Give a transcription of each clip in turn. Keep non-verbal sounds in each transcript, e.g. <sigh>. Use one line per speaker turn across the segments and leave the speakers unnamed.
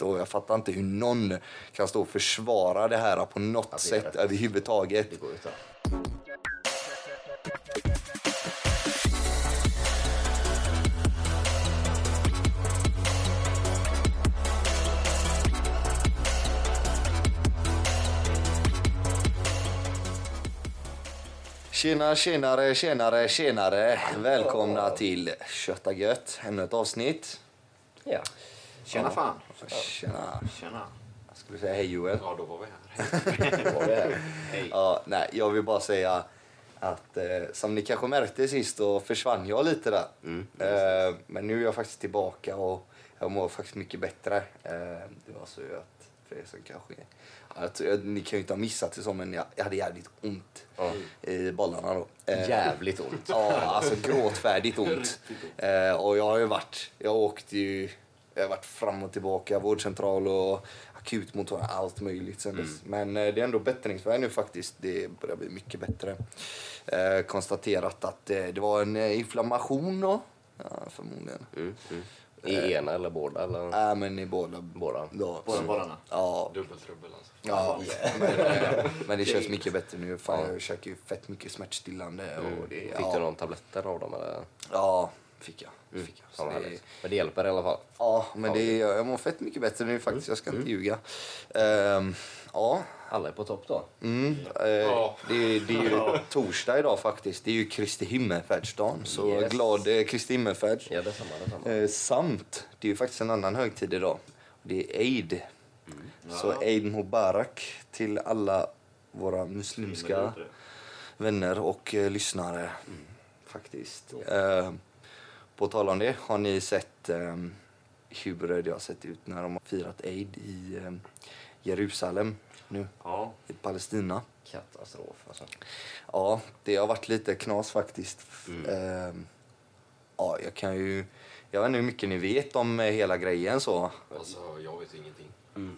och jag fattar inte hur någon kan stå och försvara det här på något
Alltså, jag
sätt
vet.
överhuvudtaget.
Det går ju inte.
Tjena, tjenare, tjenare, tjenare. Välkomna till Kötta gött, ännu ett avsnitt.
Ja. Tjena fan.
Tjena.
Tjena.
Jag skulle säga hej Joel.
Ja, då var vi här.
<laughs>
Det var det här.
Hej.
Ja, nej, jag vill bara säga att eh, som ni kanske märkte sist då försvann jag lite där.
Mm,
eh, men nu är jag faktiskt tillbaka och jag mår faktiskt mycket bättre. Eh, det var så att för er som kanske... Att, jag, ni kan ju inte ha missat det så men jag, jag hade jävligt ont i bollarna då. Eh,
Jävligt ont.
Ja, alltså gråtfärdigt ont. Eh, och jag har ju varit, jag åkte ju, jag har varit fram och tillbaka, vårdcentral och akutmottagning, allt möjligt sen dess.
Mm.
Men eh, det är ändå bättringsväg nu faktiskt, det börjar bli mycket bättre. Eh, konstaterat att eh, det var en eh, inflammation då, ja, förmodligen.
Eh.
I ena eller båda? Eller?
Nej men i båda.
Mm. Båda.
Då,
Båda bollarna?
Ja.
Dubbeltrubbel alltså.
Ja,
<laughs>
men, eh, men det känns mycket bättre nu. Fan, jag käkar ju fett mycket smärtstillande.
Mm.
Och det,
Mm. Fick
ja.
du någon tabletter av dem? Eller?
Ja, fick jag.
Mm.
Fick jag. Så
Fan, vad
det,
härligt. Men det hjälper i alla fall.
ja, men det, jag mår fett mycket bättre nu faktiskt. Jag ska inte ljuga. Ehm, ja,
Alla är på topp då.
mm, eh,
Ja.
Det, det är ju torsdag idag faktiskt. Det är ju Kristi himmelfärdsdagen. Så
Yes.
glad eh, Kristi himmelfärd.
Ja, detsamma. detsamma.
Eh, samt, det är ju faktiskt en annan högtid idag. Det är Eid. Så Eid Mubarak till alla våra muslimska
Hinner du inte?
vänner och eh, lyssnare. Faktiskt. Eh, på tal om det, har ni sett eh, hur det har sett ut när de har firat Eid i eh, Jerusalem nu?
Ja.
I Palestina.
Katastrof alltså.
Ja, det har varit lite knas faktiskt. Eh, ja, jag kan ju... Jag vet inte hur mycket ni vet om eh, hela grejen så.
Alltså, jag vet ingenting.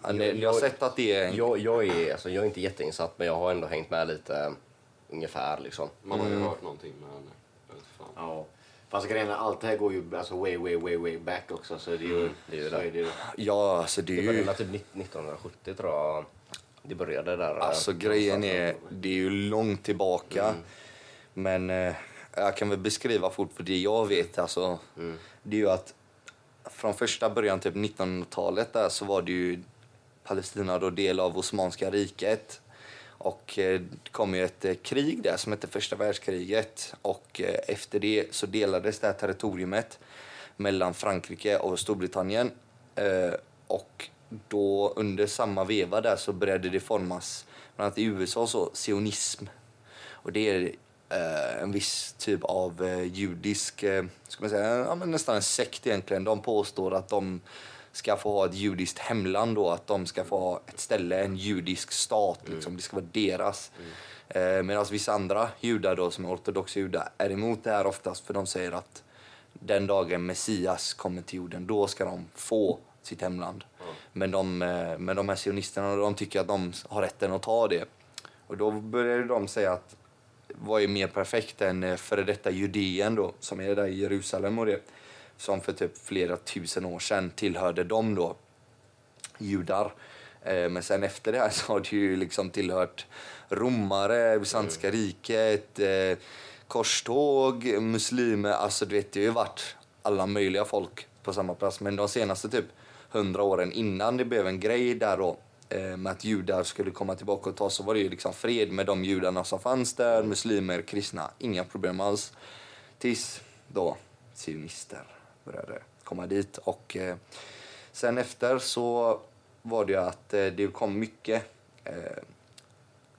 Ja, ni, ni har sett att det är en...
Jag, jag, är, alltså, jag är inte jätteinsatt men jag har ändå hängt med lite eh, ungefär liksom.
Man har ju hört någonting, men jag vet inte fan.
Ja. Mm. Fast grejen är, allt det här går ju alltså, way, way, way, way back också. Så det är ju...
Mm, det är ju
så
det.
är det ju.
Ja, alltså det är
Det
ju...
började typ 1970 tror jag. Det började där. eh,
Alltså grejen är, det är ju långt tillbaka.
Mm.
Men eh, jag kan väl beskriva fort för det jag vet alltså.
Mm.
Det är ju att från första början, typ 1900-talet där, så var det ju Palestina då del av Osmanska riket. Och eh, det kom ju ett eh, krig där som hette första världskriget. Och eh, efter det så delades det här territoriet mellan Frankrike och Storbritannien. Eh, och då under samma veva där så började det formas, bland annat i USA, så sionism. Och det är eh, en viss typ av eh, judisk, eh, ska man säga, ja, men nästan en sekt egentligen. De påstår att de ska få ha ett judiskt hemland då, att de ska få ha ett ställe, en judisk stat, liksom. det ska vara deras. Eh, Medan vissa andra judar då, som är ortodoxa judar, är emot det här oftast för de säger att den dagen Messias kommer till jorden, då ska de få sitt hemland. Men, de, eh, men de här sionisterna, de tycker att de har rätten att ta det. Och då började de säga att vad är mer perfekt än eh, före detta Judeen då, som är där i Jerusalem och det, som för typ flera tusen år sedan tillhörde dem då, judar. Eh, Men sen efter det här så har det ju liksom tillhört romare, bysantiska riket, eh, korståg, muslimer, alltså du vet det har ju varit alla möjliga folk på samma plats. Men de senaste typ hundra åren innan det blev en grej där då eh, med att judar skulle komma tillbaka och ta så var det ju liksom fred med de judarna som fanns där, muslimer, kristna, inga problem alls. Tills då sionister började komma dit och eh, sen efter så var det ju att eh, det kom mycket eh,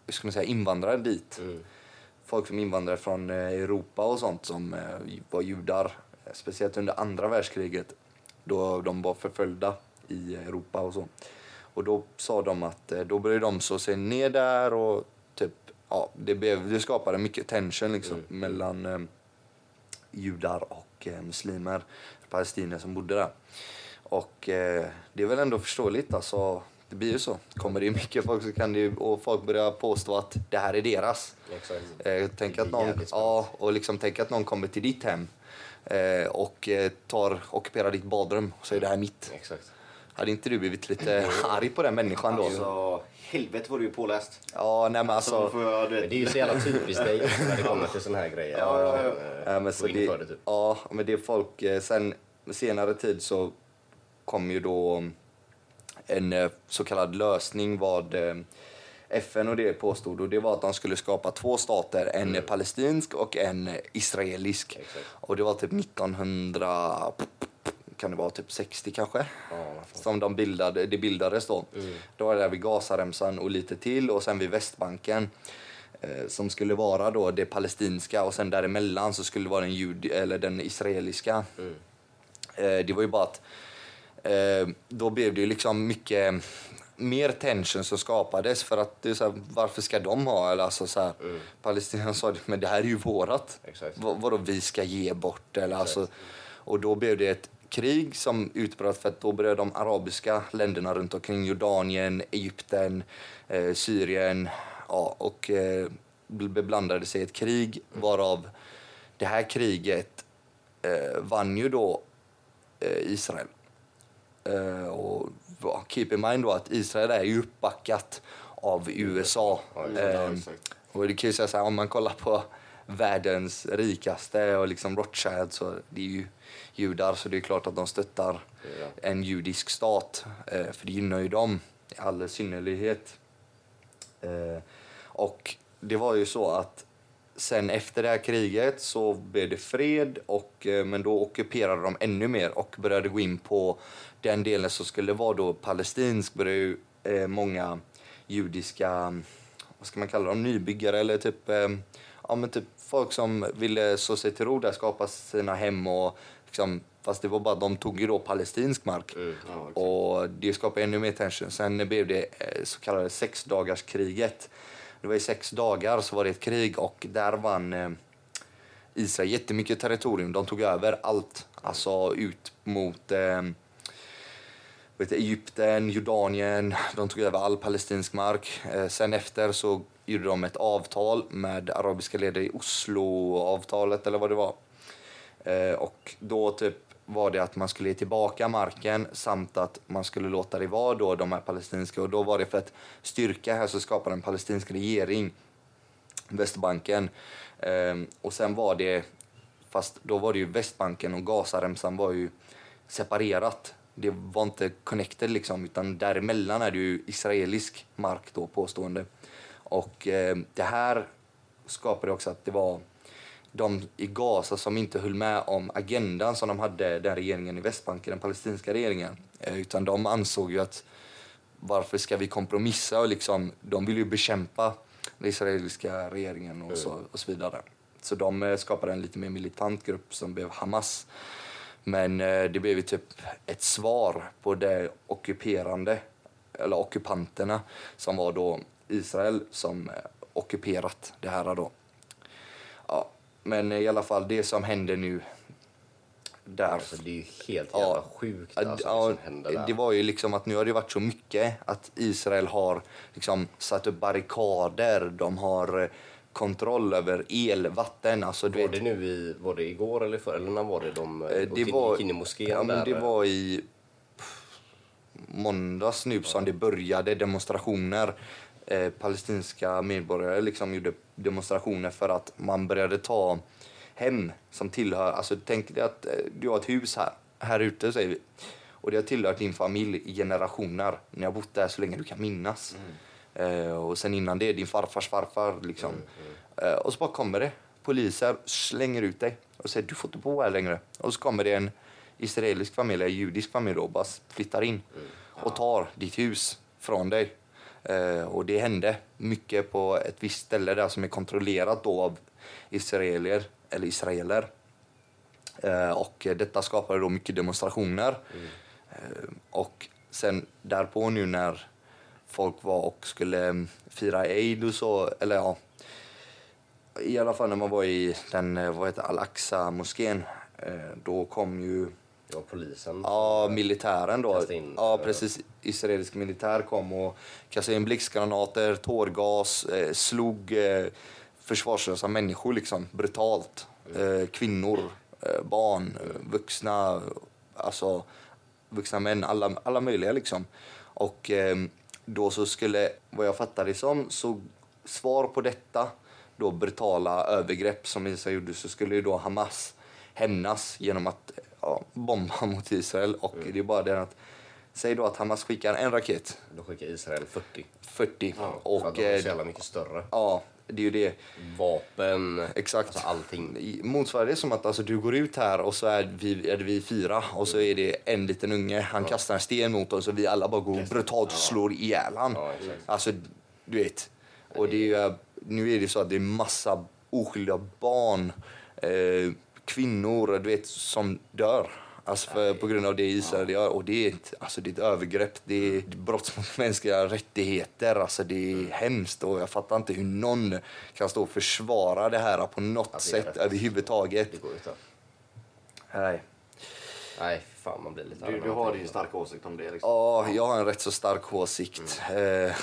hur ska man säga, invandrare dit. Folk som invandrade från eh, Europa och sånt som eh, var judar. eh, Speciellt under andra världskriget då de var förföljda i Europa och så. Och då sa de att eh, då började de slå sig ner där och typ, ja, det, blev, det skapade mycket tension liksom mellan eh, judar och eh, muslimer, palestinier som bodde där. Och eh, det är väl ändå förståeligt, alltså, det blir ju så. Kommer det mycket folk så kan det ju, och folk börjar påstå att det här är deras.
Exakt.
Mm.
Eh, tänk,
blir
att någon,
jävligt spännande.
ja, och liksom, tänk att någon kommer till ditt hem eh, och eh, tar, ockuperar ditt badrum, så är det här mitt.
Exakt.
Hade inte du blivit lite arg på den människan då?
Alltså, helvete vad du är påläst.
Ja, nej men alltså...
Så får jag, du
Men
vet,
det är ju så jävla typiskt dig också när det kommer till såna här grejer.
Ja, ja, ja.
Eh,
Ja, men
gå
så
in för
det,
det typ.
ja, men det är folk... eh, Sen senare tid så kom ju då eh, en eh, så kallad lösning vad eh, FN och det påstod och det var att de skulle skapa två stater, en palestinsk och en israelisk.
Mm. Exakt.
Och det var typ 1900... Kan det vara typ 60 kanske?
Ja, vad fan. Mm.
som de bildade, det bildades då. Då var det där vid Gazaremsan och lite till och sen vid Västbanken eh, som skulle vara då det palestinska och sen däremellan så skulle det vara den, jud, eller den israeliska.
Mm.
Eh, det var ju bara att eh, då blev det ju liksom mycket mer tension som skapades för att det är så här, varför ska de ha? Eller alltså så här, Palestina sa det, men det här är ju vårat.
Exakt.
Vad, vadå vi ska ge bort? Eller alltså, och då blev det ett krig som utbröt för att då började de arabiska länderna runt omkring Jordanien, Egypten, eh, Syrien ja, och eh, bl- beblandade sig i ett krig varav det här kriget eh, vann ju då eh, Israel. Eh, och ja, keep in mind då att Israel är ju uppbackat av USA.
ja,
Ehm,
exakt.
och det kan ju säga så här, om man kollar på världens rikaste och liksom Rothschild så det är ju judar så det är klart att de stöttar
Mm.
Ja.
en judisk stat eh, för det gynnar ju dem i all synnerlighet. Eh, Och det var ju så att sen efter det här kriget så blev det fred och, eh, men då ockuperade de ännu mer och började gå in på den delen som skulle vara då palestinsk började ju eh, många judiska, vad ska man kalla dem, nybyggare eller typ, eh, ja, men typ folk som ville slå sig till ro där, skapa sina hem och liksom, fast det var bara de tog ju då palestinsk mark.
ja, exakt.
Och det skapade ännu mer tension. Sen blev det eh, så kallade sexdagarskriget. Det var i sex dagar så var det ett krig och där vann eh, Israel jättemycket territorium. De tog över allt, alltså ut mot eh, vet, du, Egypten, Jordanien. De tog över all palestinsk mark. Eh, sen efter så gjorde de ett avtal med arabiska ledare i Oslo-avtalet eller vad det var. Eh, och då typ var det att man skulle ge tillbaka marken samt att man skulle låta det vara då de här palestinska och då var det för att styrka här så skapade en palestinsk regering Västbanken eh, och sen var det fast då var det ju Västbanken och Gazaremsan var ju separerat det var inte connected liksom utan däremellan är det ju israelisk mark då påstående och eh, det här skapade också att det var de i Gaza som inte höll med om agendan som de hade, den regeringen i Västbanken, den palestinska regeringen. Eh, Utan de ansåg ju att varför ska vi kompromissa och liksom, de vill ju bekämpa den israeliska regeringen och så, och så vidare. Så de eh, skapade en lite mer militant grupp som blev Hamas. Men eh, det blev ju typ ett svar på det ockuperande, eller ockupanterna, som var då Israel som eh, ockuperat det här då. Ja, men i alla fall det som händer nu där.
Alltså, det är ju helt
Ja.
jävla sjukt alltså,
Ja,
det som händer där.
det var ju liksom att nu har det varit så mycket att Israel har liksom satt upp barrikader, de har eh, kontroll över el, vatten, alltså du
Var
vet.
det nu i, var det igår eller förr? Eller när var det de eh,
eh,
åkte in- gick in i moskén
ja, men
där? eh.
det var i pff, måndags nu som det började demonstrationer. Eh, palestinska medborgare liksom gjorde demonstrationer för att man började ta hem som tillhör... Alltså tänk dig att eh, du har ett hus här, här ute säger vi. Och det har tillhört din familj i generationer. Ni har bott där så länge du kan minnas. Eh, och sen innan det, din farfars farfar liksom. Eh, och så bara kommer det poliser, slänger ut dig och säger du får inte bo här längre. Och så kommer det en israelisk familj, en judisk familj då, bara flyttar in och tar ditt hus från dig. Eh, och det hände mycket på ett visst ställe där som är kontrollerat då av israelier, eller israeler. Eh, och eh, detta skapade då mycket demonstrationer. Eh, och sen därpå nu när folk var och skulle mm, fira Eid och så, eller ja, i alla fall när man var i den, eh, vad heter det, Al-Aqsa-moskén, eh, då kom ju
Det var polisen.
Ja, militären då.
Kasta in-
ja, precis. Israelisk militär kom och kastade in blixtgranater, tårgas, eh, slog eh, försvarslösa människor liksom, brutalt. Eh, kvinnor, eh, barn, eh, vuxna. Alltså, vuxna män, alla, alla möjliga liksom. Och ehm, då så skulle, vad jag fattade det som, så svar på detta då brutala övergrepp som Israel gjorde så skulle ju då Hamas hämnas genom att ja, bomba <laughs> mot Israel. Och
Mm.
det är bara det att, säg då att Hamas skickar en raket,
Då skickar Israel 40.
40.
för att
och
de är
eh,
så jävla mycket större.
ja, det är ju det.
Vapen,
Exakt. Mm,
alltså allting.
I- Motsvarar det som att alltså, du går ut här och så är vi, är vi fyra och
Mm.
så är det en liten unge, han kastar en sten mot oss och vi alla bara går och brutalt slår ihjäl han.
Ja, exakt.
Alltså, du vet. Och det är, ju, nu är det så att det är massa oskyldiga barn, eh, kvinnor, du vet, som dör. Alltså för, på grund av det Israel gör. Och det är, ett, alltså det är ett övergrepp, det är ett brott mot mänskliga rättigheter. Alltså det är hemskt och jag fattar inte hur någon kan stå och försvara det här på något
Alltså, det är
sätt
rätt.
överhuvudtaget.
Det går ut där.
Nej.
Nej, fan man blir lite
Du,
arg
du
när man
har
tänker
din
på
starka åsikt om det. Liksom.
Ja, jag har en rätt så stark åsikt. Eh, <laughs>
det.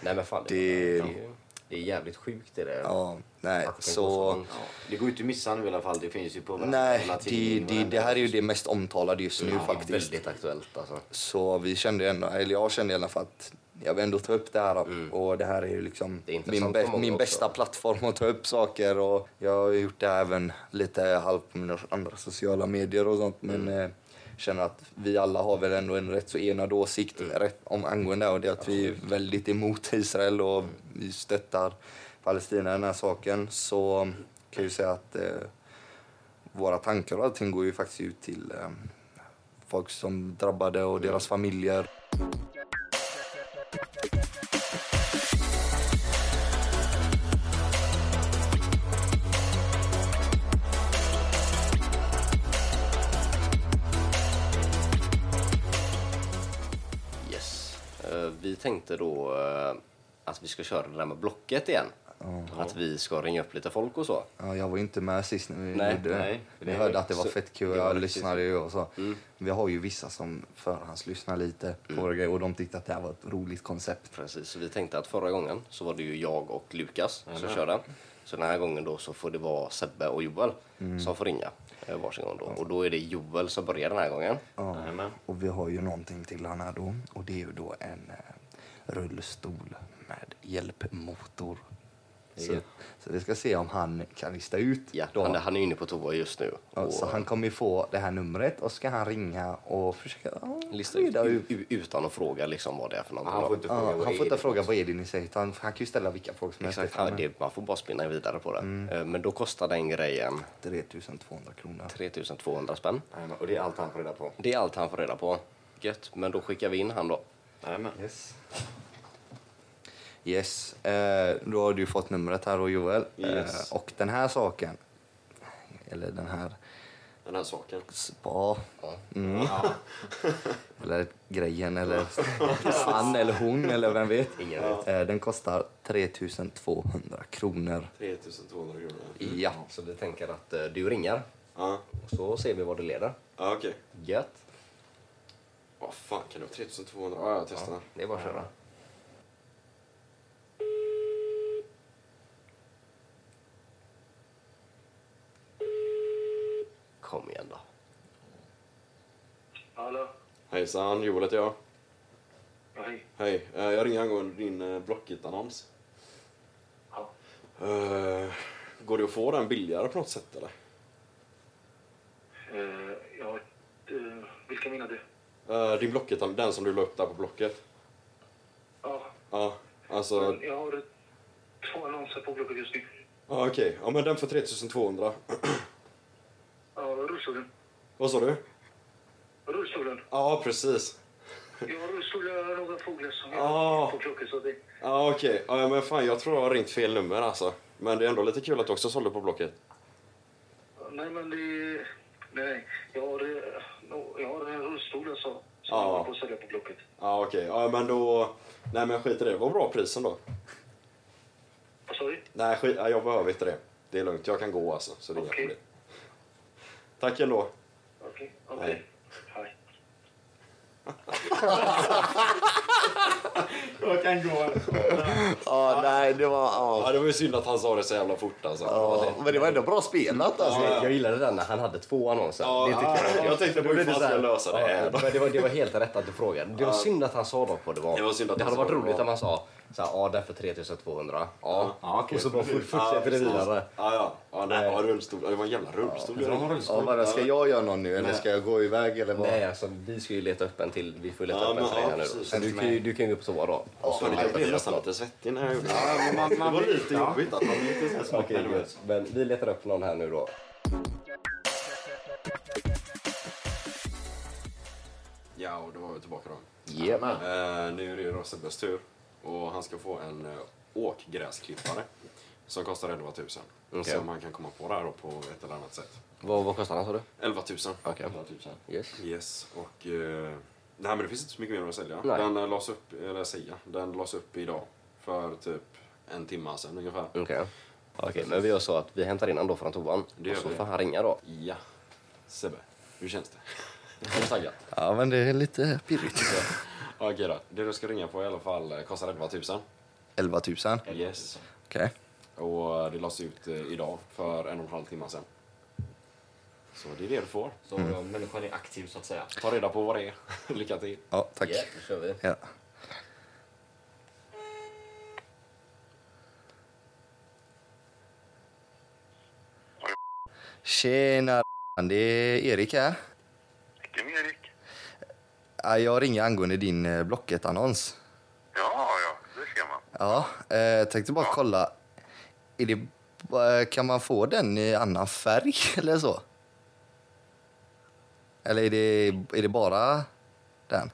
Nej men fan, det,
Det-
det, är ju- det är jävligt sjukt det där.
ja, nej,
Att det kan gå
så...
långt.
Ja. Det går ju inte att missa nu i alla fall. Det finns ju på världen,
Nej,
hela
det,
tiden,
det, det här är ju det mest omtalade just nu
Det är
faktiskt.
väldigt aktuellt alltså.
Så vi kände ändå, eller jag kände i alla fall att jag vill ändå ta upp det här. Och det här är ju liksom
Mm. Det är intressant
min, bä-
på många
min
också.
bästa plattform att ta upp saker. Och jag har ju gjort det även lite halvt på mina andra sociala medier och sånt. Men
Mm.
eh, känner att vi alla har väl ändå en rätt så enad åsikt
Mm.
rätt, om angående det. Och det är att vi är väldigt emot Israel och
Mm.
vi stöttar Palestina i den här saken. Så kan jag ju säga att eh, våra tankar och allting går ju faktiskt ut till eh, folk som drabbade och
Mm.
deras familjer.
Yes. Eh, vi tänkte då eh, att vi ska köra det där med Blocket igen. Att vi ska ringa upp lite folk och så.
Ja, jag var ju inte med sist när vi
Nej,
gjorde det.
nej.
Vi hörde att det var
Så-
fett kul,
det var
jag
riktigt Mm.
lyssnade ju och så. Vi har ju vissa som förhandslyssnar lite på våra grejer och de tyckte att det här var ett roligt koncept.
Precis, så vi tänkte att förra gången så var det ju jag och Lukas som körde. Så den här gången då så får det vara Sebbe och Joel
Mm.
som får ringa eh, varsin gång då. Och då är det Joel som börjar den här gången.
Ja.
Jajamän.
Och vi har ju någonting till han här då och det är ju då en eh, rullstol med hjälpmotor. Så, så vi ska se om han kan lista ut
Ja,
då.
han, han är inne på toa just nu.
Ja,
och
Så han kommer ju få det här numret och ska han ringa och försöka ja,
listar ut, Mm.
reda ut.
u- utan att fråga liksom vad det är för någonting.
Han
då.
får inte fråga.
Ja,
vad
han
är
får inte
det?
fråga vad är det ni säger utan han kan ju ställa vilka frågor som helst.
Exakt, ja, det, man får bara spinna vidare på det.
Mm.
Eh, Men då kostar den grejen
3200 kronor.
3200 spänn.
Jajamän, Och det är allt han får reda på.
Det är allt han får reda på. Gött, men då skickar vi in han då.
Jajamän.
Yes. Yes, eh, då har du fått numret här och Joel.
Yes.
Eh, och den här saken, eller den här,
Den här saken.
spa. Mm. <laughs> eller grejen eller <laughs> han eller hon eller vem vet.
Ingen vet.
Eh, den kostar 3200 kronor.
3200 kronor.
Ja.
Så vi tänker att eh, du ringer,
Ja,
och så ser vi vad det leder.
ja okej.
Gött.
Vad fan kan det vara? 3200? Ja, jag testar.
Det är bara att köra. Kom igen då.
Hallå?
Hejsan, Joel heter jag.
Hej.
Hej, eh, jag ringer angående din eh, Blocket-annons.
Ja.
Eh, Går det att få den billigare på något sätt eller?
Eh, ja, eh, vilka menar du?
Eh, Din Blocket, den som du la upp där på Blocket.
Ja,
Ja, alltså...
jag har två annonser på Blocket just nu.
Ja, okej. Ja, men den för 3200.
Ja, rullstolen.
<clears throat> Vad sa du?
Rullstolen.
Ja, precis.
Jag har rullstol och några fåglar som jag
Ah.
på Blocket. Så det,
Ja, okej. Ja, men fan, jag tror jag har ringt fel nummer alltså. Men det är ändå lite kul att du också sålde på Blocket.
nej, men det... Nej, nej. Jag har, eh, no, jag har en rullstol alltså, som
Ja.
jag håller på att sälja på Blocket.
Ja, okej. Ja, men då... Nej, men skit i det. Vad bra prisen då.
Vad sa du?
Nej, skit... ja, jag behöver inte det. Det är lugnt. Jag kan gå alltså, så det är
Okej.
inga problem. Tack ändå.
Okej.
Nej.
Okej. Hej.
Jag kan gå.
Ja, nej, det var...
Ja,
Ja.
det var ju synd att han sa det så jävla fort alltså.
Ja, men det var ändå bra spelat alltså.
Jag gillade den när han hade två annonser.
Ja,
tyckte
jag tänkte på
Då
hur
blev
fan
det så
ska
här-
jag lösa det
Ja,
här.
men det, var, det var helt rätt att du frågade. Det var synd att han sa dock vad det var.
Det var synd att
det
han
hade
sa
varit
vad det
roligt
var.
om han sa så här, ja den för 3200. Ja.
Ja, okej.
Och så bara fort- fortsätter det
precis.
vidare.
Ja, ja. ja, nej, ja rullstol. Ja, Det var en jävla rullstol. Ja,
Ja, vad, ska jag göra någon nu eller ska jag gå iväg eller vad?
Nej alltså vi ska ju leta upp en till. Vi får ju leta
Ja,
upp en
men
till dig
ja,
här nu då.
precis.
Så du kan ju, du kan ju gå på toa då. Och så
Fan,
leta
jag blev
fyra
nästan
plan.
lite svettig när jag gjorde det. det var lite jobbigt att man lite så här smakade
Okej,
nervös.
gud. men vi letar upp någon här nu då.
Ja, och då var vi tillbaka då.
Jajamän.
Eh, nu är det ju då Sebbes tur. Och han ska få en eh, åkgräsklippare. Som kostar 11 000.
Okej.
Som han kan komma på där då på ett eller annat sätt.
Vad, vad kostar den sa du?
11 000.
Okej.
11 000.
Yes.
Yes, och... Eh, nej, men det finns inte så mycket mer att sälja.
Nej.
Den eh, lades upp, eller säga, den lades upp idag. För typ en timma sedan ungefär.
Okej. Okej, men vi gör så att vi hämtar in han då från toan.
Det
Och
gör
så
vi.
får han ringa då.
Ja. Sebbe, hur känns det? Är du taggad?
Ja, men det är lite pirrigt.
<laughs> Okej då. Det du ska ringa på i alla fall eh, kostar 11 000.
11 000.
Yes.
Okej.
Och eh, det lades ut eh, idag för en och en halv timme sedan. Så det är det du får.
Så mm. människan är aktiv så att säga.
Ta reda på vad det är. <laughs> Lycka till.
Ja, tack.
Yeah, då kör vi.
Ja. Tjena det är Erik här.
Det är med Erik.
Ja, Jag ringer angående din eh, Blocket-annons.
Ja, ja, det ser man.
Ja, eh, tänkte bara kolla. Är det, eh, kan man få den i annan färg <laughs> eller så? Eller är det, är det bara den?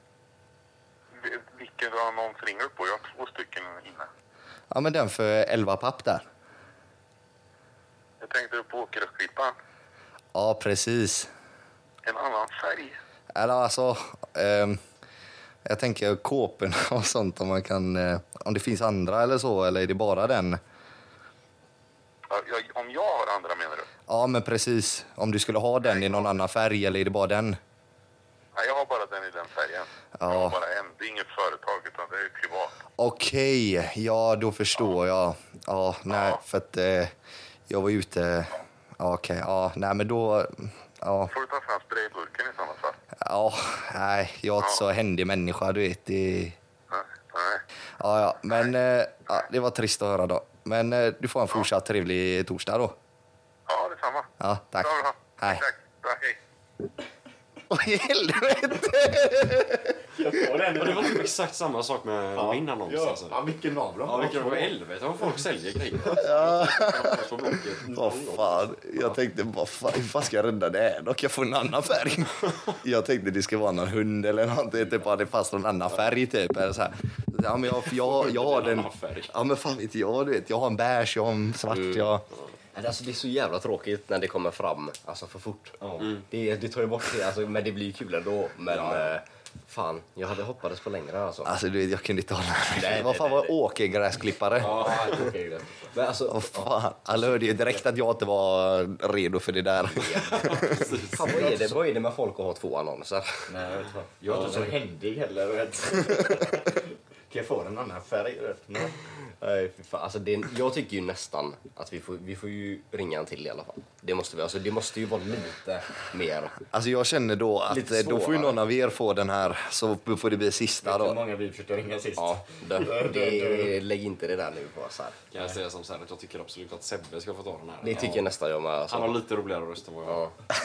Vi- Vilken annons ringer du på? Jag har två stycken inne.
Ja, men den för 11 papp där.
Jag tänkte på åkerklippan.
Ja, precis.
En annan färg.
Eller alltså, ehm, jag tänker kåporna <laughs> och sånt om man kan, eh, om det finns andra eller så, eller är det bara den?
Ja, jag, om jag har andra menar du?
Ja, men precis. Om du skulle ha den i någon annan färg eller är det bara den?
Nej, jag har bara den i den färgen. Jag
Ja.
har bara en. Det är inget företag utan det är privat.
Okej, ja då förstår jag. Ja, nej, för att eh, jag var ute... Ja, Okej, ja, nej men då... Ja,
Får du ta fram sprayburken i sådana fall?
ja nej, jag är inte så händig människa, du vet. Det...
Nej, nej.
Ja, ja, men eh, ja, det var trist att höra då. Men eh, du får en fortsatt trevlig torsdag då.
Ja, detsamma.
Ja, tack.
Bra, bra.
Hej.
Tack. Bra, hej.
Åh, i helvete!
Och den
Ja, det var typ exakt samma sak med min annons.
Ja,
Alltså.
ja vilken navla.
Ja, vilket var helvete vad folk säljer grejer. Ja. På Blocket.
<laughs> Vad fan, jag tänkte vad fan, hur fan ska jag rädda det här då? Kan jag få en annan <laughs> färg? Jag tänkte det ska vara någon hund eller någonting, typ att det fanns någon annan färg typ. Eller så här. Ja men jag, jag, jag har den, <laughs> ja men fan vet jag du vet, jag har en beige, jag har en svart,
Mm.
jag...
Men Alltså, det är så jävla tråkigt när det kommer fram alltså, för fort. Det, det tar ju bort det, alltså, men det blir ju kul ändå. Men eh, fan, jag hade hoppades på längre alltså.
Alltså du vet, jag kunde inte hålla
Nej,
mig. Vad fan
nej,
var åkergräsklippare?
Ja, okej, det. men alltså,
Vad fan, alla hörde ju direkt att jag inte var redo för det där.
fan, vad, är det, vad är det med folk att ha två annonser?
Nej, jag vet inte. Jag är inte så händig heller. Vet. <laughs> kan jag få en annan färg? Vet? Nej.
Nej, fy fan. Alltså, det, är- jag tycker ju nästan att vi får, vi får ju ringa en till i alla fall. Det måste, vi, alltså, det måste ju vara lite mer.
Alltså jag känner då att
Lite
eh, då får ju
svårare.
någon av er få den här, så får det bli sista
Vet du hur
då.
många vi försökte ringa sist?
Ja, det, det, lägg inte det där nu på så här.
Kan jag säga som så här att jag tycker absolut att Sebbe ska få ta den här.
Det tycker nästan jag med. Alltså.
Han har lite roligare röst än vad jag har.
Ja.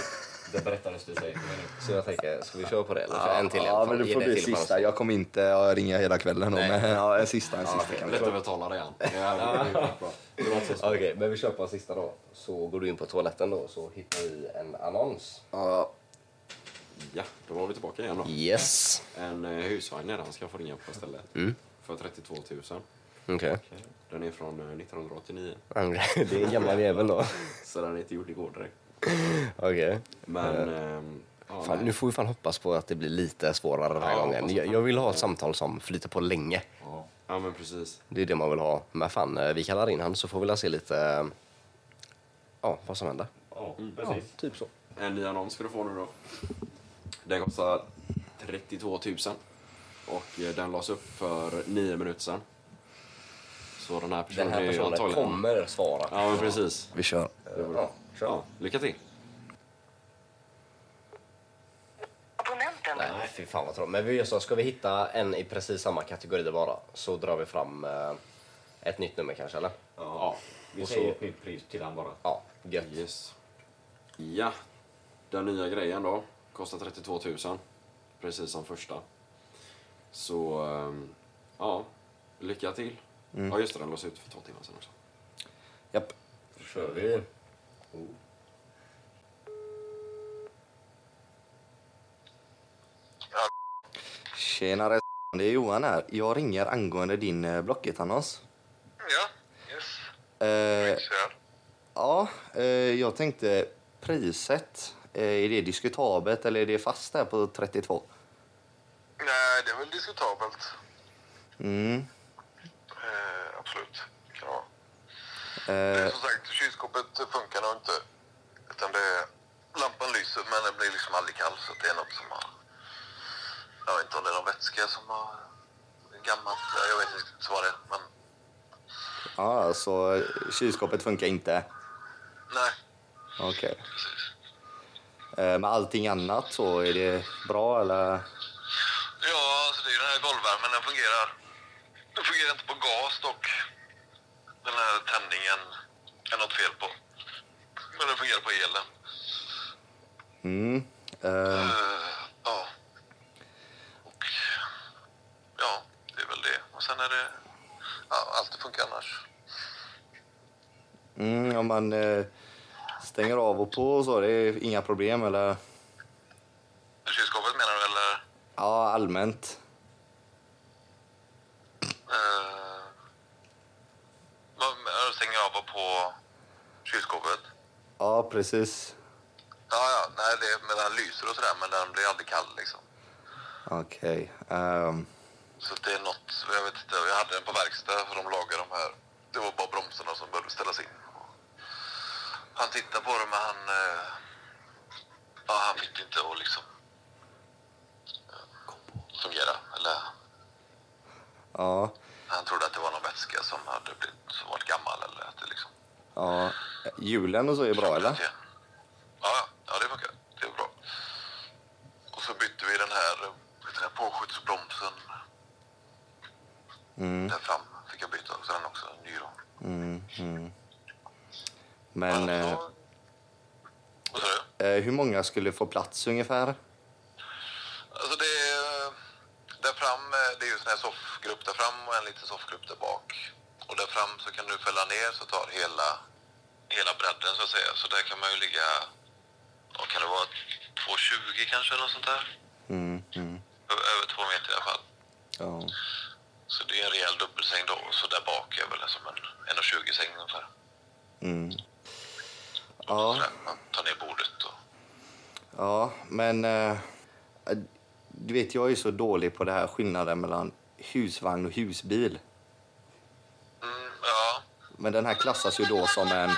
Det berättades det sig. Men
Så jag tänker, ska vi köra på det? Eller kör en till i alla
Ja,
fall?
men det
Ge
får
det
bli
till på
sista.
annonsen.
Jag kommer inte ja, ringa hela kvällen då, men ja, en sista, en sista kan vi
Lätt övertala
<laughs>
dig han. Ja, det är skitbra.
Okej, men vi kör på en sista då. Så går du in på toaletten då så hittar vi en annons.
Ja,
Ja, då var vi tillbaka igen då.
Yes.
En eh, husvagn är det han ska få ringa på istället. För 32 000.
Okej.
Den är från eh, 1989.
<laughs> Det är en gammal jävel då.
Så den är inte gjord igår direkt.
Okej.
Men... ehm, ja,
Fan,
nej.
Nu får vi fan hoppas på att det blir lite svårare den här
Ja,
gången.
hoppas
Jag, jag vill ha ett samtal som flyter på länge.
Ja. ja, men precis.
Det är det man vill ha. Men fan, eh, vi kallar in han så får vi la se lite... eh, Ja, vad som händer.
ja,
Ja,
precis.
typ så.
En ny annons ska du få nu då. Den kostar 32 000. och eh, den lades upp för nio minuter sedan. Så den här personen,
Den här
är ju
personen
antagligen...
kommer svara.
Ja, men precis.
Vi kör.
Ja,
Ja, lycka till.
Abonnenten.
Nej, fy fan vad tråkigt. Men vi gör så, ska vi hitta en i precis samma kategori bara så drar vi fram eh, ett nytt nummer kanske eller?
Ja.
Vi
Och
säger
så,
ett nytt pris till han bara.
ja, gött.
Yes. Ja, den nya grejen då. Kostar 32 000. Precis som första. Så, ehm, ja. Lycka till.
Mm.
Ja, just det, den lades ut för två timmar sedan också.
Japp.
Då kör vi.
Tjenare det är Johan här. Jag ringer angående din eh, Blocket-annons.
Ja, yes.
Eh,
Kör.
ja, eh, jag tänkte priset. Eh, är det diskutabelt eller är det fast där på 32?
Nej, det är väl diskutabelt.
Mm.
Eh, absolut. Ja.
Eh,
Som sagt, kylskåpet funkar nog inte. Utan det är, lampan lyser, men den blir liksom aldrig kall. Så det är något som har... Jag vet inte om det är någon vätska som har... Gammalt. ja, Jag vet inte riktigt vad det är. Men
ja, så eh, kylskåpet funkar inte.
nej,
Okej. Eh, men allting annat så, är det bra eller?
Ja, alltså det är ju den här golvvärmen, den fungerar. Den fungerar inte på gas dock. Den här tändningen är något fel på. Men den fungerar på elen.
Mm. Eh,
Eh, ja. Och ja, det är väl det. Och sen är det... Ja, allt funkar annars.
mm, om man eh, stänger av och på och så, det är inga problem eller?
Kylskåpet menar du eller?
Ja, allmänt.
Eh, vad- jag stänger av och på kylskåpet?
Ja, precis.
Ja, ja. Nej, det, men den lyser och sådär men den blir aldrig kall liksom.
Okej. ehm,
Så det är något, jag vet inte, jag hade den på verkstad för de lagade de här. Det var bara bromsarna som behövde ställas in. Han tittade på det men han, eh, ja han fick inte att liksom eh, fungera. Eller
ja,
han trodde att det var någon vätska som hade blivit, som varit gammal eller att det liksom.
ja. Julen och så är bra eller?
Ja, ja, ja, det funkar. Det är bra. Och så bytte vi den här, eh, den här påskjutsbromsen
Mm,
där fram. Fick jag byta också den också, en ny då.
mm, mm. Men eh,
Alltså, Vad sa du?
eh, hur många skulle få plats ungefär?
Alltså det är... Där fram, eh, det är ju en sån här soffgrupp där fram och en liten soffgrupp där bak. Och där fram så kan du fälla ner så tar hela, hela bredden så att säga. Så där kan man ju ligga... Vad kan det vara? 2,20 kanske eller något sånt där.
Mm, mm.
Ö- Över två meter i alla fall.
Ja.
Så det är en rejäl dubbelsäng då. Och så där bak är väl som en 1,20 säng ungefär.
Mm.
Så
Ja,
där, man tar ner bordet och...
ja, men eh, du vet, jag är så dålig på det här skillnaden mellan husvagn och husbil.
Mm, ja.
Men den här klassas ju då som en...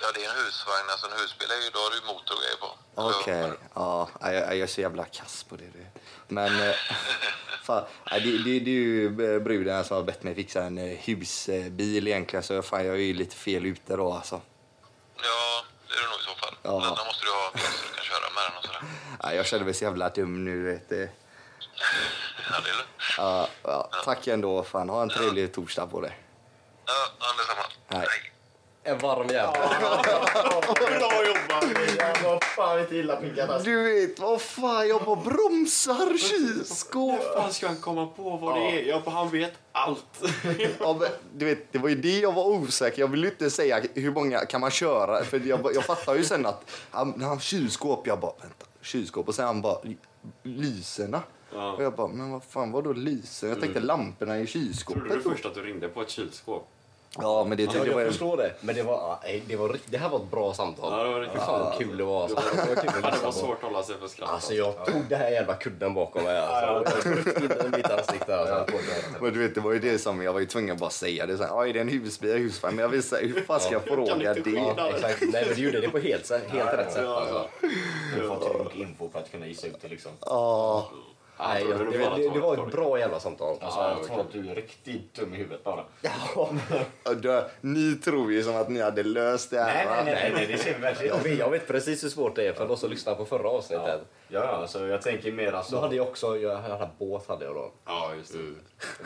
ja, det är en husvagn. Alltså en husbil är ju... Då har du ju motor och grejer på.
Okej, ja, jag, jag är så jävla kass på det. du. Men eh, <laughs> fan, nej, det, det, det är ju eh, bruden här som har bett mig fixa en eh, husbil egentligen så fan, jag är ju lite fel ute då alltså.
Ja, det är det nog i så fall.
Ja.
Men då måste du ha bil så du kan köra med den och sådär.
Nej, jag känner mig så jävla dum nu. Vet du.
Ja, det är det.
Ja, ja, tack ändå, fan. ha en trevlig torsdag på dig.
Ja, ja, detsamma.
Nej.
En varm jävel.
Bra jobbat! Jag var fan inte illa piggad alltså.
Du vet, vad fan, jag bara bromsar kylskåp.
fan ska han komma på vad det är? Ja, han vet allt.
Ja, men, du vet, det var ju det jag var osäker. Jag ville ju inte säga hur många kan man köra. För jag, bara- jag fattar ju sen att han, när han kylskåp, jag bara vänta, kylskåp och sen han bara lyserna.
Ja.
Och jag bara, men vad fan var då lysen? Jag tänkte lamporna i
Trodde du
kylskåpet.
först att du ringde på ett kylskåp?
Ja, men det tyckte
Ja,
jag var
jag
en...
förstår det. Men det var, nej, det var, rikt- det här var ett bra samtal.
Ja, det var riktigt
Fy fan vad kul det var. Alltså. Det var, kul
Ja,
att
det
lyssna
var
på.
svårt att hålla sig för skratt.
Alltså jag tog det här jävla kudden bakom mig. Alltså. Jag tog in den i mitt ansikte. Alltså.
Men du vet, det var ju det som jag var ju tvungen att bara säga det. Så här, "Ja, är det en husbil, husvagn? Men jag visste hur fan ska jag fråga
inte
det?
skilja.
Ja, exakt. Nej men du gjorde det på helt, helt rätt sätt. Alltså.
Du har fått så mycket info för att kunna gissa ut det liksom.
Ja.
Ah, jag trodde du
det,
bara
var, det, det
tog-
var
tog-
ett bra jävla samtal.
Alltså, jag tror att du är riktigt dum i huvudet bara.
Ja, då- Ni tror ju som att ni hade löst det
Nej,
här.
nej,
va?
nej, nej, det ser vi verkligen
Jag vet, jag vet precis hur svårt det är för oss att lyssna på förra avsnittet.
Ja, ja alltså, jag tänker mer alltså...
Då hade jag också, jag hade en båt hade jag då.
Ja, just det.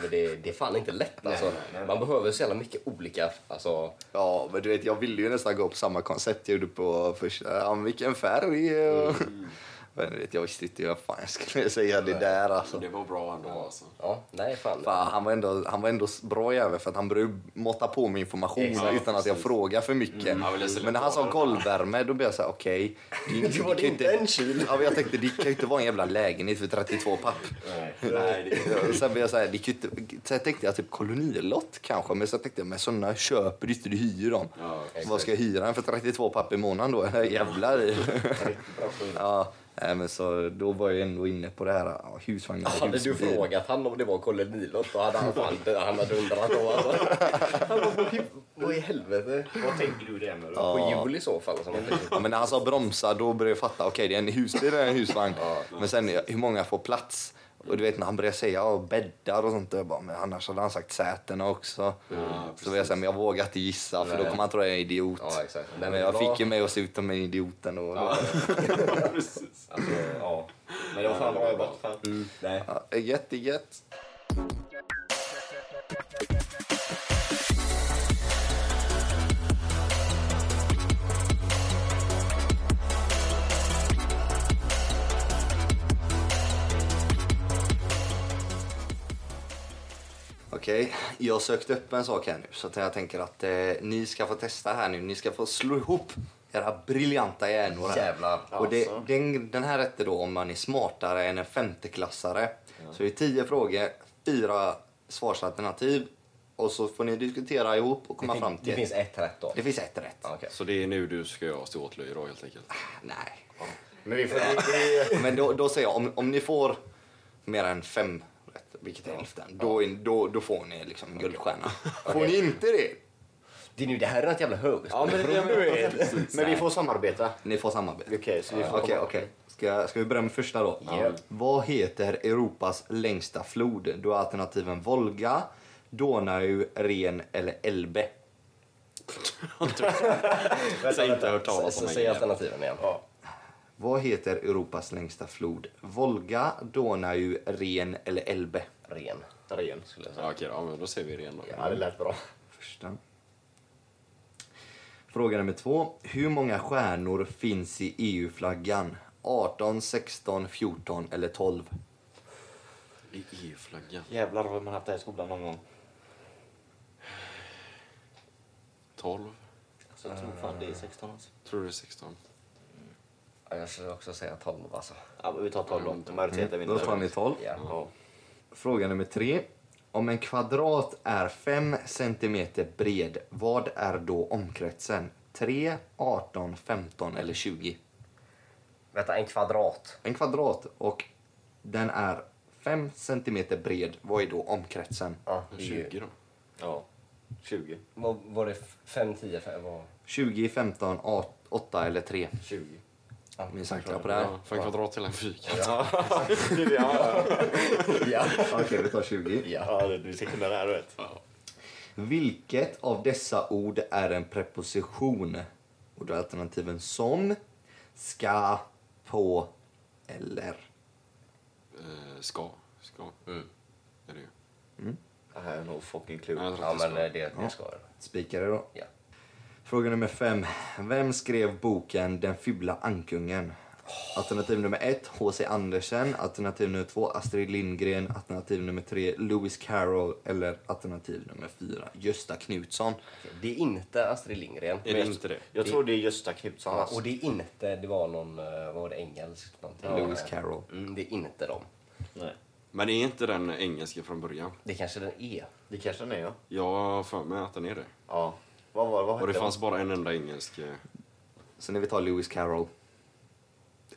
Men det, det är fan inte lätt alltså.
nej, nej.
Man behöver så jävla mycket olika, alltså.
Ja, men du vet, jag ville ju nästan gå på samma koncept jag gjorde på första. Ja, men vilken färg! och- <laughs> Men du vet, jag visste inte vad fan jag skulle säga det där
Så
alltså.
det var bra ändå alltså.
Ja, nej fan.
Fan, han var ändå, han var ändå bra jävel för att han började måtta på med information
Exakt,
utan att jag frågar för mycket.
han ville se
men när han sa
lite
golvvärme då blev jag så här, okej. det-
Det var
kan ju
inte en kyl.
Ja, men jag tänkte det kan ju inte vara en jävla lägenhet för 32 papp.
Nej.
Nej, det
Ja, och <laughs> Sen blev jag så här, det kan ju inte, sen tänkte jag typ kolonilott kanske men sen tänkte jag men sådana köper du inte, du hyr dem.
Ja,
Vad ska jag hyra den för 32 papp i månaden då? <laughs> Jävlar. <laughs> ja, nej, men så då var jag ändå inne på det här ja, husvagnar och
Hade du
husbil.
frågat han om det var kolonilott då hade han fan han hade undrat då alltså. Han var på, vad i helvete?
Vad tänker du det med då?
På jul i så fall. Alltså.
Ja, men när han sa bromsa då började jag fatta, okej det är en husbil det är en husvagn. Men sen hur många får plats? Och du vet när han började säga ja, bäddar och sånt, jag bara, men annars hade han sagt sätena också. så var jag såhär, men jag vågar inte gissa för då kommer han tro att jag är en idiot.
Ja, exakt.
Men,
Men
jag
bra.
fick ju mig att se ut som en idiot ändå. Ja.
Ja, precis.
Alltså, ja. Men det var fan bra jobbat. Fan. Nej.
Gött, det är gött. Okej, jag sökte upp en sak här nu så att jag tänker att eh, ni ska få testa här nu. Ni ska få slå ihop era briljanta hjärnor här.
Jävlar,
Och det,
alltså.
den, den här rätten då om man är smartare än en femteklassare. Så det är tio frågor, fyra svarsalternativ och så får ni diskutera ihop och komma fram till...
Det finns ett rätt då.
det finns ett rätt.
Okej.
Så det är nu du ska göra ståtlöj då helt enkelt?
Nej. Eh,
Men vi får... Vi, vi,
Men då, då säger jag, om, om ni får mer än fem rätt, vilket är hälften, då, är- då, då får ni liksom en guldstjärna. Får ni inte det,
Det är nu, det här är något jävla högskoleprov. <laughs>
men vi får samarbeta.
ni får samarbete.
Okej, så vi får...
Okej, okej. Ska, ska vi börja med första då?
Ja.
Vad heter Europas längsta flod? Då är alternativen Volga, Donau, Ren eller Elbe.
Jag har inte hört talas om
Så säg
det.
alternativen igen.
Ja.
Vad heter Europas längsta flod? Volga, Donau, Ren eller Elbe?
Ren.
Ren.
Skulle jag säga.
Ja, okej, ja, men då ser vi det igen då.
Ja, det lät bra.
Första. Fråga nummer två. Hur många stjärnor finns i E EU-flaggan? 18, 16, 14 eller 12?
I EU-flaggan.
Jävlar vad man haft det här i skolan någon gång.
12?
Alltså, jag tror fan det är 16 alltså.
Tror du det är 16?
Ja, jag skulle också säga 12 alltså.
Ja, men vi tar 12 då. Majoriteten vinner.
Då tar ni 12.
Ja.
Mm. Ja.
Fråga nummer tre. Om en kvadrat är 5 cm bred, vad är då omkretsen? 3, 18, 15 eller 20?
Vänta, en kvadrat.
En kvadrat och den är 5 cm bred, vad är då omkretsen?
Ja, det är ju-
20 då?
ja. 20.
Vad var det? 5, 10, 5? Vad?
20, 15, 8 eller 3?
<laughs> 20.
Ni säkra på det här?
Ja, för en kvadrat till en fyrkant.
Ja.
Okej, vi tar 20.
Ja, du ska kunna det här, du vet.
Vilket av dessa ord är en preposition? Och då är alternativen som, ska, på eller.
Eh, ska. Ska. Är det ju.
I have no fucking
Nej,
clue.
jag tror
Ja,
inte
men
det
eh,
ska.
det, det ska det.
Spikare då.
Ja.
Fråga nummer fem. Vem skrev boken Den fula ankungen? Alternativ nummer ett, H.C. Andersen. Alternativ nummer två, Astrid Lindgren. Alternativ nummer tre, Lewis Carroll. Eller alternativ nummer fyra, Gösta Knutsson.
Det är inte Astrid Lindgren.
Är det inte det?
Jag tror det är Gösta Knutsson.
Ja,
alltså.
och det är inte, det var någon, eh, vad var det, engelskt någonting?
Lewis Carroll.
Mm, det är inte dem.
Nej.
Men är inte den engelska från början?
Det kanske den E. är.
Det kanske den är, ja.
Jag har för mig att den är det.
Ja. Vad var vad
Och det
hette
fanns bara en enda engelsk... eh,
Så när vi tar Lewis Carroll.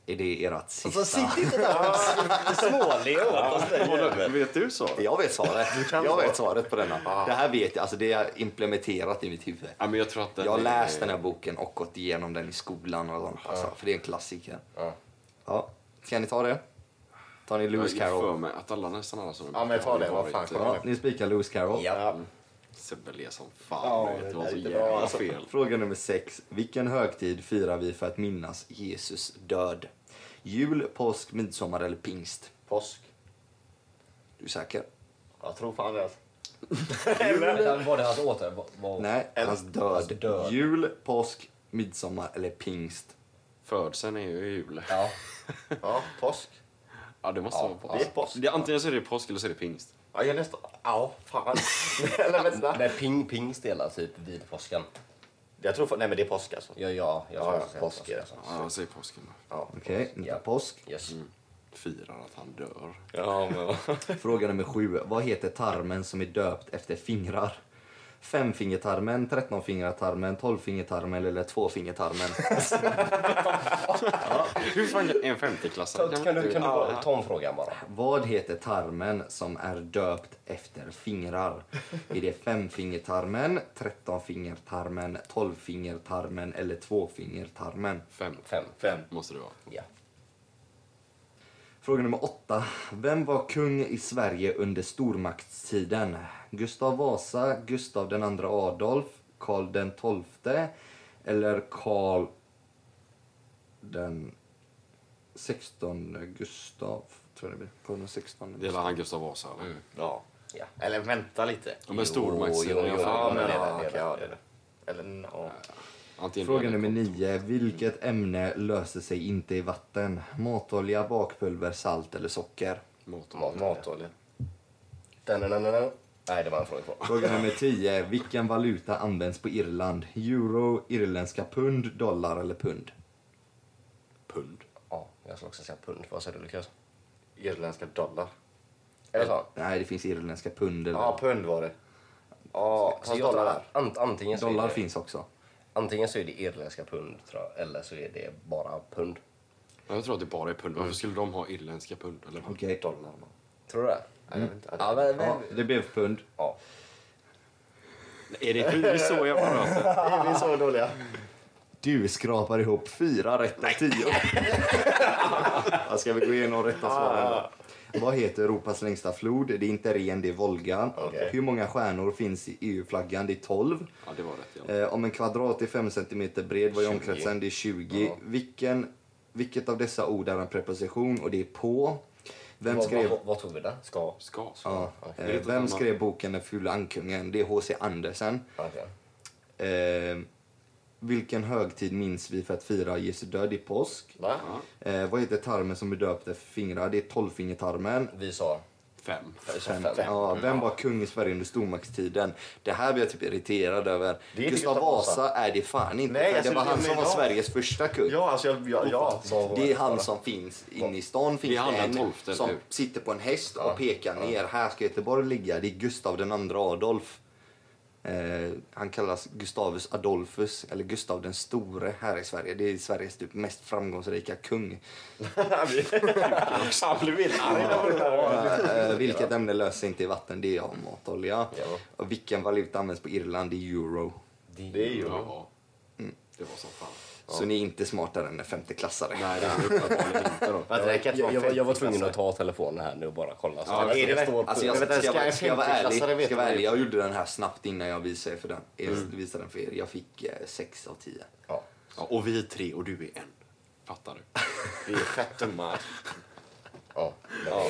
Är det ert sista?
inte där och småle åt oss.
Vet du så?
Jag vet svaret. Jag vet svaret på denna. Det här vet jag. Alltså det är implementerat i mitt huvud.
Ja, men jag tror att den
Jag har
är-
läst den här boken och gått igenom den i skolan och sånt. Alltså, för det är en klassiker. Ja. Kan ni ta det? Tar ni Lewis
Jag har för
Carroll?
mig att alla, nästan alla som
Ja, men ta det. Vad fan, kolla.
Ja, ni spikar Lewis Carroll.
Ja.
Sebbe le som fan.
Ja,
du vet, det
det
var så
där är inte
jävla
bra, alltså.
fel.
Fråga nummer sex. Vilken högtid firar vi för att minnas Jesus död? Jul, påsk, midsommar eller pingst?
Påsk.
Du är säker?
Jag tror fan det. alltså.
Utan var det hans åter... Var, var...
Nej, hans död.
hans död.
Jul, påsk, midsommar eller pingst?
Födseln är ju i jul.
Ja.
Ja, påsk.
Ja, det måste vara påsk.
det är påsk.
Det, antingen så är det påsk eller så är det pingst.
Ja, jag är nästan... Ja, <laughs> fan. Eller vänta.
Nej, ping, ping stelar typ vid påsken.
Jag tror fan... Nej, men det är påsk alltså.
Ja, ja. Jag
Ja,
ska
ja,
säga
påsk är det.
alltså.
Ja, jag säger påsken då.
Okej, ni tar påsk.
Yes.
Firar att han dör.
Mm. Ja, men...
Fråga nummer sju. Vad heter tarmen som är döpt efter fingrar? Femfingertarmen, trettonfingertarmen, tolvfingertarmen eller tvåfingertarmen?
Hur fan en femteklassare
Kan du, kan du
Ja.
bara, ta om frågan bara.
Vad heter tarmen som är döpt efter fingrar? Är det femfingertarmen, trettonfingertarmen, tolvfingertarmen eller tvåfingertarmen?
Fem.
Fem.
Fem.
Måste det vara.
Ja.
Fråga nummer åtta. Vem var kung i Sverige under stormaktstiden? Gustav Vasa, Gustav den andra Adolf, Karl den tolfte eller Karl den sextonde Gustav? Tror jag det blir. Karl den sextonde.
Det gäller han Gustav Vasa eller?
Ja.
Ja.
Eller vänta lite.
Ja, men stormaktssidan.
jo,
jag
jo,
fan-
Ja, men
det är det,
det är
det är det.
det. Ja, det är det. Eller... Ja.
Antingen
Fråga
eller
nummer
kontor.
nio. Vilket ämne löser sig inte i vatten? Matolja, bakpulver, salt eller socker?
Motorn.
Mat, matolja. Dananana. Nej, det var en fråga kvar.
Fråga nummer 10. Vilken valuta används på Irland? Euro, irländska pund, dollar eller pund?
Pund.
Ja, jag skulle också säga pund. Vad säger du, Lukas?
Irländska dollar.
Är det så?
Nej, det finns irländska pund. Eller...
Ja, pund var det. Ja,
Så
så
jag
dollar
tror
där.
ant, antingen, så är
Dollar
det,
finns också.
antingen så är det irländska pund, tror jag, eller så är det bara pund.
Ja, Jag tror att det bara är pund. Varför skulle de ha irländska pund? Eller vad?
Okej.
Dollar. man.
Tror du det?
Nej, jag vet inte.
Ja, men, men,
Ja, det blev pund.
ja.
Är det pund? Det är så jag pratar.
Vi är så dåliga.
Du skrapar ihop fyra rätt av tio. Ja, Ska vi gå igenom rätta svaren då? Vad heter Europas längsta flod? Det är inte ren, det är Volga.
Okej.
Hur många stjärnor finns i EU-flaggan? Det är 12.
Ja, det var rätt. Ja.
Eh, om en kvadrat är 5 cm bred, vad är omkretsen? Det är 20. Vilken, vilket av dessa ord är en preposition? Och det är på. Vem
Vad,
skrev,
vad, vad tog vi där? Ska.
Ska.
ja,
Är det
eh,
inte
vem
samma?
skrev boken Den fula ankungen? Det är H.C. Andersen.
Okay.
Eh, vilken högtid minns vi för att fira Jesu död? Det är påsk.
Va?
Eh, vad heter tarmen som är döpt efter fingrar? Det är tolvfingertarmen.
Vi sa...
Fem.
Vi sa fem.
Ja, vem var kung i Sverige under stormaktstiden? Det här blir jag typ irriterad över.
Det är inte
Gustav
Gustav Vasa.
Vasa är det fan inte.
Nej,
för
alltså,
det var
det-
han som
men
var
ja.
Sveriges första kung.
Ja, alltså jag... Ja, ja.
Vad var
Det är han som finns inne i stan. Finns
Det är han
det
den
en
tolfte, eller
som
hur?
sitter på en häst och pekar ner. Här ska Göteborg ligga. Det är Gustav den andra Adolf. Eh, han kallas Gustavus Adolphus, eller Gustav den store här i Sverige. Det är Sveriges typ mest framgångsrika kung.
Han blev vild.
<laughs>
Eh, vilket ämne löser inte i vatten? Det är av matolja. Och vilken valuta används på Irland? Det är euro.
Det är ju...
Ja. Det var som fan.
Så ni är inte smartare än en femteklassare.
Nej, det är uppenbarligen inte då.
Vänta, det kan inte
Jag,
vara
jag, var- jag var tvungen att
femteklassare.
ta telefonen här nu och bara kolla. Så
Ja,
det
är det
ska
väl-
stå på-
Alltså jag,
Jag vet
ska,
inte,
jag,
ska
vara-
en
ska jag vara ärlig,
femteklassare veta
ska jag, vara
det?
ärlig, jag gjorde den här snabbt innan jag visade er för den. Jag visade den för er. Jag fick 6 av 10.
Mm. Ja.
Ja, och vi är tre och du är en. Fattar du?
Vi är fett dumma.
Ja.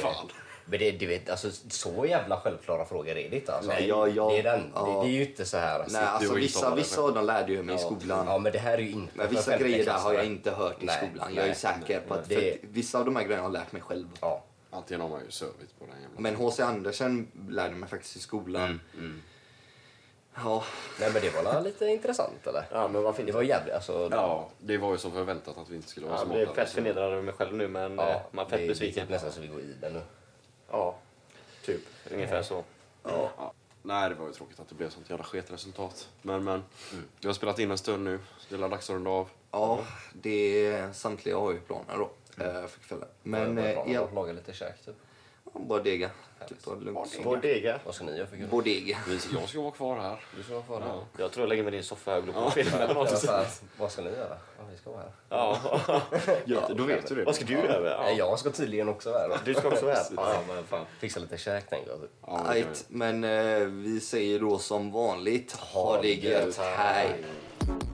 Fan.
Men det, du vet, alltså, så jävla självklara frågor är det inte. Alltså.
Nej, jag- jag-
det, är den.
ja.
Det, det är ju inte så här.
Nej, alltså
och
vissa,
Isabella.
vissa av dem lärde jag mig i skolan.
Ja, men det här är ju inte
Men
för
vissa grejer där har
femteklassare.
jag inte hört i
Nej,
skolan. Jag
nej,
är säker på att, för
Det-
att vissa av de här grejerna har jag lärt mig själv.
Ja.
Antingen har man ju sövit på den jävla...
Men H.C. Andersen lärde mig faktiskt i skolan.
Mm,
Ja,
Nej, men det var väl lite intressant eller?
Ja, men vad fint.
Det var jävligt, alltså.
Ja, det var ju som förväntat att vi inte skulle vara
Ja,
smarta.
jag blir fett förnedrad över mig själv nu, men eh, man
det-
är fett
Det är
besviken.
typ nästan så vi går i den nu.
Ja, typ. Ungefär så.
Ja. Nej, det var ju tråkigt att det blev sånt jävla sketresultat. Men, men. Vi har spelat in en stund nu. Det är dags att runda av.
ja det är samtliga har ju planer då. eh, För kvällen. Men eh,
jag
i all-
lagar lite käk typ.
Bodega. Typ av lugnt.
Bodega.
Vad ska ni göra för kul?
Bodega.
Jag ska vara kvar här.
Du ska vara kvar här.
Jag tror jag lägger mig i en soffa här och glor på film eller
<laughs> Ja,
något.
så här, Vad ska ni göra? Ja, vi ska vara här.
Ja.
Gött, då vet du det.
Vad ska du göra?
Nej,
Ja.
Jag ska tydligen också vara här. då.
Du ska också vara här.
<laughs> Ja, men fan. Fixa lite käk tänkte jag. typ.
Ja, det kan vi.
Right, men eh, vi säger då som vanligt, ha det gött, hej!
Hej.